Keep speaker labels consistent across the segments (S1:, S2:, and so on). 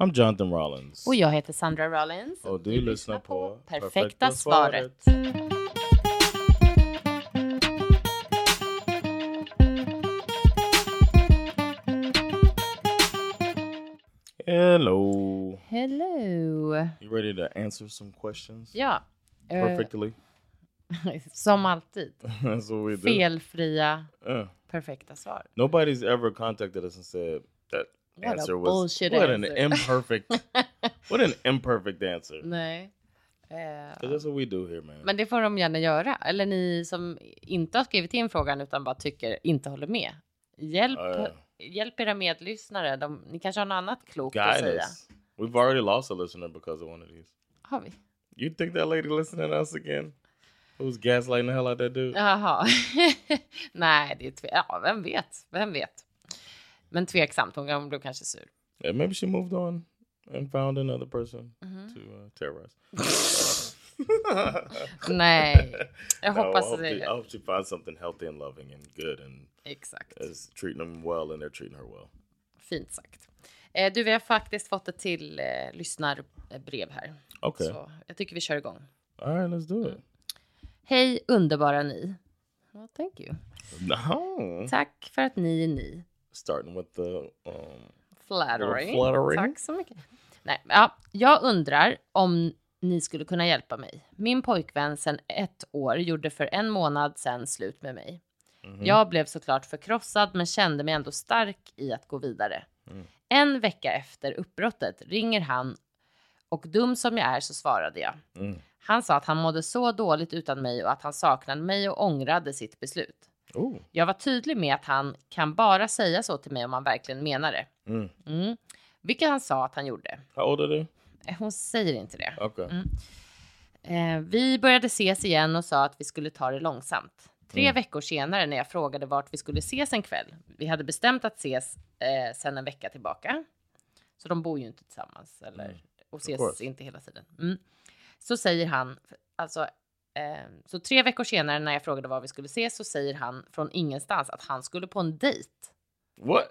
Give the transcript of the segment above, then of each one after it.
S1: I'm Jonathan Rollins.
S2: Och jag heter Sandra Rollins.
S1: Och du lyssnar på
S2: Perfekta, svaret.
S1: Hello.
S2: Hello!
S1: You ready to answer some questions?
S2: Ja, eh,
S1: Perfectly.
S2: som alltid.
S1: That's what we do.
S2: Felfria,
S1: Yeah.
S2: perfekta svar.
S1: Nobody's ever contacted us and said that
S2: What a
S1: answer was
S2: bullshit
S1: what an
S2: answer.
S1: imperfect what an imperfect answer. 'Cause
S2: Nej. Eh,
S1: That's what we do here, man.
S2: men det får de gärna göra. Eller ni som inte har skrivit in frågan utan bara tycker, inte håller med. Hjälp,
S1: Ja, ja.
S2: hjälp era medlyssnare. De, ni kanske har något annat klokt att
S1: Guide
S2: säga.
S1: us. We've already lost a listener because of one of these.
S2: Har vi?
S1: You think that lady listening to us again? Who's gaslighting the hell out that
S2: Uh.
S1: dude?
S2: Jaha. Nej, det är tve- ja, vem vet? Vem vet? Men tveksamt, hon hon blev kanske sur.
S1: Yeah, maybe she moved on and found another person
S2: Mm-hmm.
S1: to uh, terrorize.
S2: Nej, jag
S1: No,
S2: hoppas
S1: I hope, they- I
S2: det.
S1: hope she finds something healthy and loving and good and
S2: Exakt.
S1: is treating them well and they're treating her well.
S2: Fint sagt. Eh, Du, vi har faktiskt fått ett till eh, lyssnarbrev här.
S1: Okay.
S2: Så jag tycker vi kör igång.
S1: All right, let's do it.
S2: Hej underbara ni. Well, thank you.
S1: No.
S2: Tack för att ni är ni.
S1: Oh. Starting with the um,
S2: Flattery.
S1: Little flattery.
S2: Tack så mycket. Nej, ja, jag undrar om ni skulle kunna hjälpa mig. Min pojkvän sedan ett år gjorde för en månad sedan slut med mig. Jag blev såklart förkrossad men kände mig ändå stark i att gå vidare. En vecka efter uppbrottet ringer han och dum som jag är så svarade jag.
S1: Mm.
S2: Han sa att han mådde så dåligt utan mig och att han saknade mig och ångrade sitt beslut.
S1: ooh,
S2: Jag var tydlig med att han kan bara säga så till mig om han verkligen menar det.
S1: Mm.
S2: Mm. Vilket han sa att han gjorde.
S1: how old are they?
S2: Eh, Hon säger inte det.
S1: Okay.
S2: Eh, vi började ses igen och sa att vi skulle ta det långsamt. Tre veckor senare när jag frågade vart vi skulle ses en kväll. Vi hade bestämt att ses eh, sen en vecka tillbaka. Så de bor ju inte tillsammans eller, och ses
S1: course.
S2: inte hela tiden. Mm. Så säger han, alltså, eh, så tre veckor senare när jag frågade var vi skulle ses så säger han från ingenstans att han skulle på en dejt.
S1: What?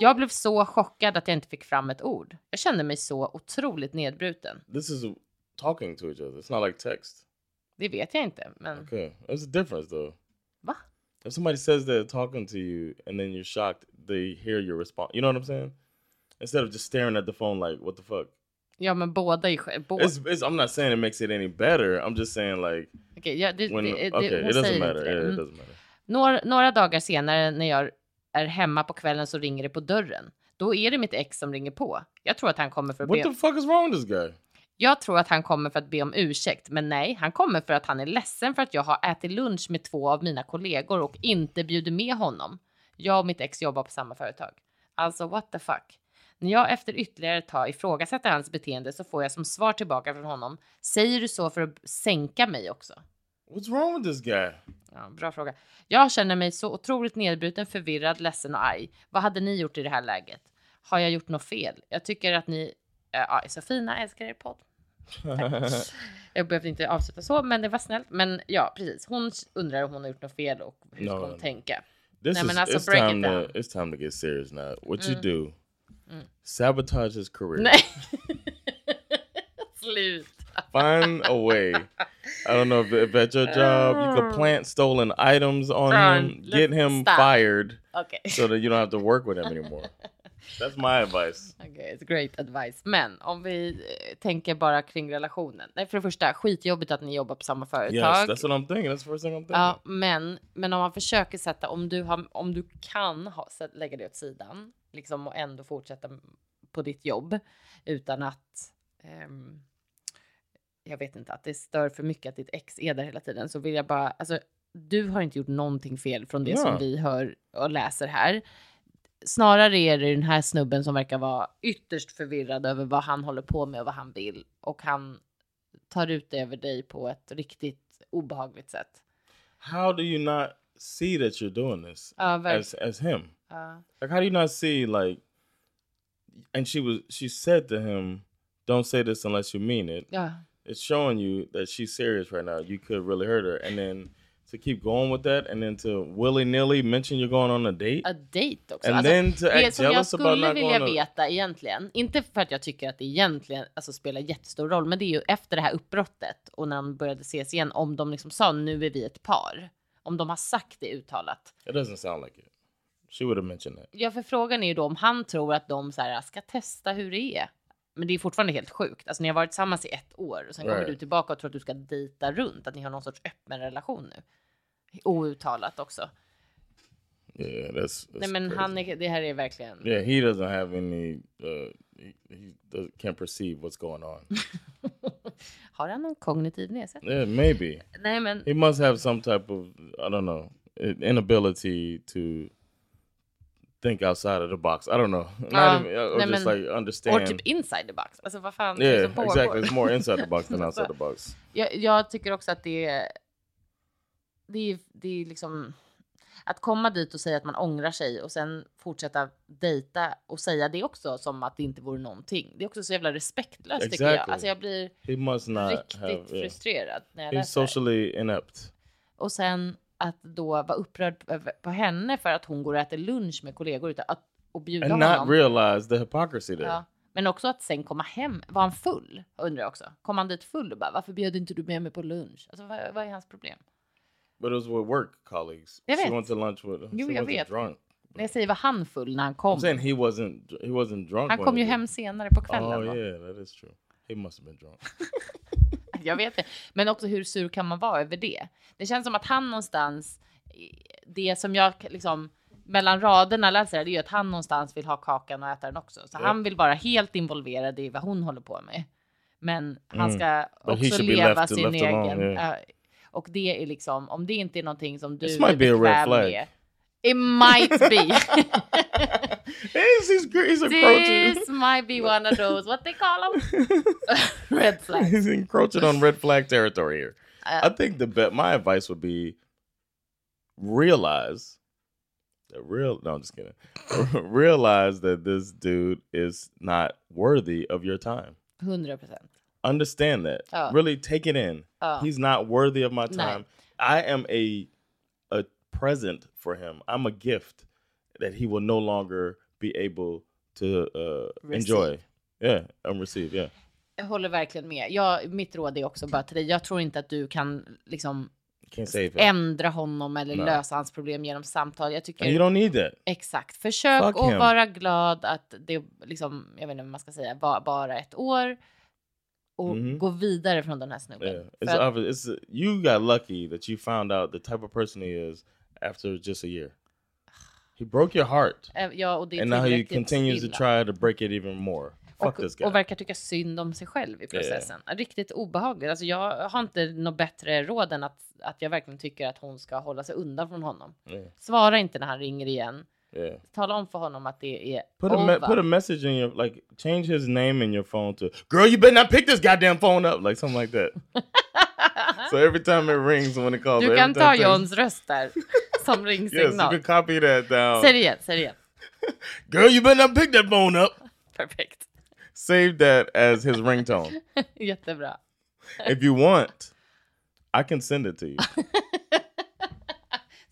S2: Jag blev så chockad att jag inte fick fram ett ord. Jag kände mig så otroligt nedbruten.
S1: This is talking to each other. It's not like text.
S2: Det vet jag inte, men
S1: Okay. There's a difference though.
S2: va?
S1: If somebody says they're talking to you and then you're shocked, they hear your response. You know what I'm saying? Instead of just staring at the phone like, what the fuck?
S2: Ja, men båda är sj- båda.
S1: It's, it's, I'm not saying it makes it any better. I'm just saying like
S2: Okej, ja, det,
S1: when
S2: det, det,
S1: okay,
S2: hon
S1: it
S2: säger
S1: doesn't
S2: inte
S1: matter.
S2: det.
S1: Yeah, it
S2: Mm.
S1: doesn't matter.
S2: Några, några dagar senare när jag är hemma på kvällen så ringer det på dörren. Då är det mitt ex som ringer på. Jag tror att han kommer för att
S1: What
S2: be
S1: the fuck is wrong with this guy?
S2: Jag tror att han kommer för att be om ursäkt, men nej, han kommer för att han är ledsen för att jag har ätit lunch med två av mina kollegor och inte bjuder med honom. Jag och mitt ex jobbar på samma företag. Alltså what the fuck? När jag efter ytterligare ett tag ifrågasätter hans beteende så får jag som svar tillbaka från honom. Säger du så för att sänka mig också?
S1: What's wrong with this guy?
S2: Ja, bra fråga. Jag känner mig så otroligt nedbruten, förvirrad, ledsen och arg. Vad hade ni gjort i det här läget? Har jag gjort något fel? Jag tycker att ni eh, ja, är så fina, älskar er podd. Jag behövde inte avsluta så, men det var snällt. Men ja, precis. Hon undrar om hon har gjort något fel och hur ska
S1: No,
S2: hon
S1: no.
S2: tänka?
S1: This
S2: Nej,
S1: is
S2: men alltså,
S1: it's
S2: break it
S1: time
S2: down. Mm.
S1: to it's time to get serious now. What you do? Sabotage his career.
S2: Nej. Slut.
S1: Find a way. I don't know if, if at your job you could plant stolen items on
S2: Fran,
S1: him,
S2: let's
S1: get him
S2: stop.
S1: fired,
S2: Okej,
S1: so that you don't have to work with him anymore. That's my advice.
S2: Okej, it's great advice. Men om vi eh, tänker bara kring relationen. Nej, för det första, skitjobbigt att ni jobbar på samma
S1: Yes,
S2: företag.
S1: that's what I'm thinking. That's the first thing I'm thinking.
S2: Ja, men, men om man försöker sätta, om du, har, om du kan ha, sä- lägga det åt sidan, liksom och ändå fortsätta på ditt jobb utan att, ehm, jag vet inte, att det stör för mycket att ditt ex är där hela tiden, så vill jag bara, alltså du har inte gjort någonting fel från det
S1: Ja.
S2: som vi hör och läser här. Snarare är det den här snubben som verkar vara ytterst förvirrad över vad han håller på med och vad han vill och han tar ut det över dig på ett riktigt obehagligt sätt.
S1: How do you not see that you're doing this
S2: Ja, verkligen.
S1: as as him?
S2: Ja.
S1: Like, how do you not see like? And she was she said to him, "Don't say this unless you mean it."
S2: ja.
S1: It's showing you that she's serious right now. You could really hurt her, and then to keep going with that, and then to willy nilly mention you're going on a date,
S2: a date också.
S1: and
S2: Alltså,
S1: then to
S2: det
S1: act
S2: som jag
S1: jealous about
S2: skulle
S1: not
S2: vilja
S1: going. To,
S2: veta egentligen, inte för att jag tycker att det egentligen alltså, spelar jättestor roll, men det är ju efter det här uppbrottet och när de började ses igen, om de liksom sa nu är vi ett par. Om de har sagt det uttalat.
S1: it doesn't sound like it. She would have mentioned that.
S2: Ja, för frågan är ju då om han tror att de så här, ska testa hur det är. Men det är fortfarande helt sjukt. Alltså ni har varit tillsammans i ett år och sen kommer
S1: Right.
S2: du tillbaka och tror att du ska dejta runt, att ni har någon sorts öppen relation nu. Outtalat också.
S1: Yeah, that's, that's
S2: Nej men
S1: crazy.
S2: han är, det här är verkligen.
S1: Yeah, he doesn't have any. Uh, he he does, can't perceive what's going on.
S2: Har han någon kognitiv nedsättning?
S1: yeah, maybe
S2: Nej men
S1: he must have some type of I don't know inability to think outside of the box. I don't know,
S2: Ah,
S1: not even, Uh, or
S2: nej,
S1: just
S2: men-
S1: like
S2: Or
S1: understand.
S2: typ inside the box. Alltså vad fan är det
S1: yeah,
S2: som pågår?
S1: exactly. It's more inside the box than outside the box.
S2: Jag, jag tycker också att det är... Det är, det är liksom... Att komma dit och säga att man ångrar sig och sen fortsätta dejta och säga det också som att det inte vore någonting. Det är också så jävla respektlöst tycker jag.
S1: Exactly.
S2: Alltså jag blir
S1: He must not
S2: riktigt
S1: have. Yeah.
S2: frustrerad när jag
S1: He's
S2: läser. det här.
S1: socially inept.
S2: Och sen att då vara upprörd över- på henne för att hon går och äter lunch med kollegor utan att, och bjuda
S1: And
S2: honom.
S1: not realize the hypocrisy there.
S2: Ja. Men också att sen komma hem. Var han full? Undrar jag också. Kom han dit full och bara varför bjöd inte du med mig på lunch? Alltså vad, vad är hans problem?
S1: But it was with work colleagues.
S2: Jag
S1: She
S2: vet.
S1: went to lunch with.
S2: Jo,
S1: she
S2: jag
S1: wasn't
S2: vet.
S1: drunk.
S2: När jag säger var han full när han kom.
S1: I'm saying he wasn't. He wasn't drunk.
S2: han
S1: when
S2: kom
S1: he
S2: ju
S1: did
S2: hem senare på kvällen.
S1: Oh
S2: va?
S1: yeah, that is true. He must have been drunk.
S2: Jag vet det. Men också hur sur kan man vara över det? Det känns som att han någonstans, det som jag liksom mellan raderna läser här, det är ju att han någonstans vill ha kakan och äta den också. Så
S1: Ja.
S2: han vill vara helt involverad i vad hon håller på med. Men han
S1: Mm.
S2: ska
S1: But he
S2: också
S1: should be
S2: leva
S1: left-
S2: sin
S1: left
S2: egen.
S1: alone, yeah.
S2: eh, och det är liksom, om det inte är någonting som du
S1: This
S2: är
S1: might be a red
S2: bekväm
S1: flag.
S2: med. It might be.
S1: he's, he's, gr- he's encroaching.
S2: This might be one of those, what they call them. Red flag.
S1: He's encroaching on red flag territory here. I
S2: Eh,
S1: think the bet. My advice would be realize that real. No, I'm just kidding. realize that this dude is not worthy of your time.
S2: 100 procent.
S1: Understand that.
S2: Oh.
S1: Really take it in.
S2: Oh.
S1: He's not worthy of my
S2: No.
S1: time. I am a a present for him. I'm a gift that he will no longer be able to uh, enjoy.
S2: Receive.
S1: Yeah, and receive. Yeah.
S2: Jag håller verkligen med. Jag, mitt råd är också bara till dig. Jag tror inte att du kan liksom
S1: Can't save him.
S2: ändra honom eller
S1: Nej.
S2: lösa hans problem genom samtal. Jag
S1: And you
S2: tycker
S1: don't need that.
S2: exakt. Försök
S1: Fuck
S2: att
S1: him.
S2: vara glad att det liksom, jag vet inte vad man ska säga, var bara ett år och
S1: Mhm. Alltså,
S2: gå vidare från den här snubben.
S1: Yeah,
S2: För
S1: it's
S2: att-
S1: obvious. It's you got lucky that you found out the type of person he is after just a year. He broke your heart,
S2: eh, ja, och det är
S1: and now he
S2: tillräckligt
S1: continues to
S2: illa.
S1: try to break it even more. Fuck
S2: och,
S1: this
S2: och
S1: guy.
S2: verkar tycka synd om sig själv i processen. Riktigt obehagligt. Alltså jag har inte något bättre råd än att, att jag verkligen tycker att hon ska hålla sig undan från honom.
S1: Yeah,
S2: Svara inte när han ringer igen.
S1: yeah.
S2: Tala om för honom att det är
S1: Put a
S2: over.
S1: me- put a message in your like change his name in your phone to girl. You better not pick this goddamn phone up like something like that. so every time it rings when it calls,
S2: du
S1: every
S2: kan ta
S1: time things-
S2: Johns röst där som
S1: Yes, you
S2: ringsignal.
S1: can copy that down.
S2: Säg det igen, säg det igen.
S1: Girl, you better not pick that phone up.
S2: Perfekt.
S1: Save that as his ringtone.
S2: Jättebra.
S1: if you want, I can send it to you.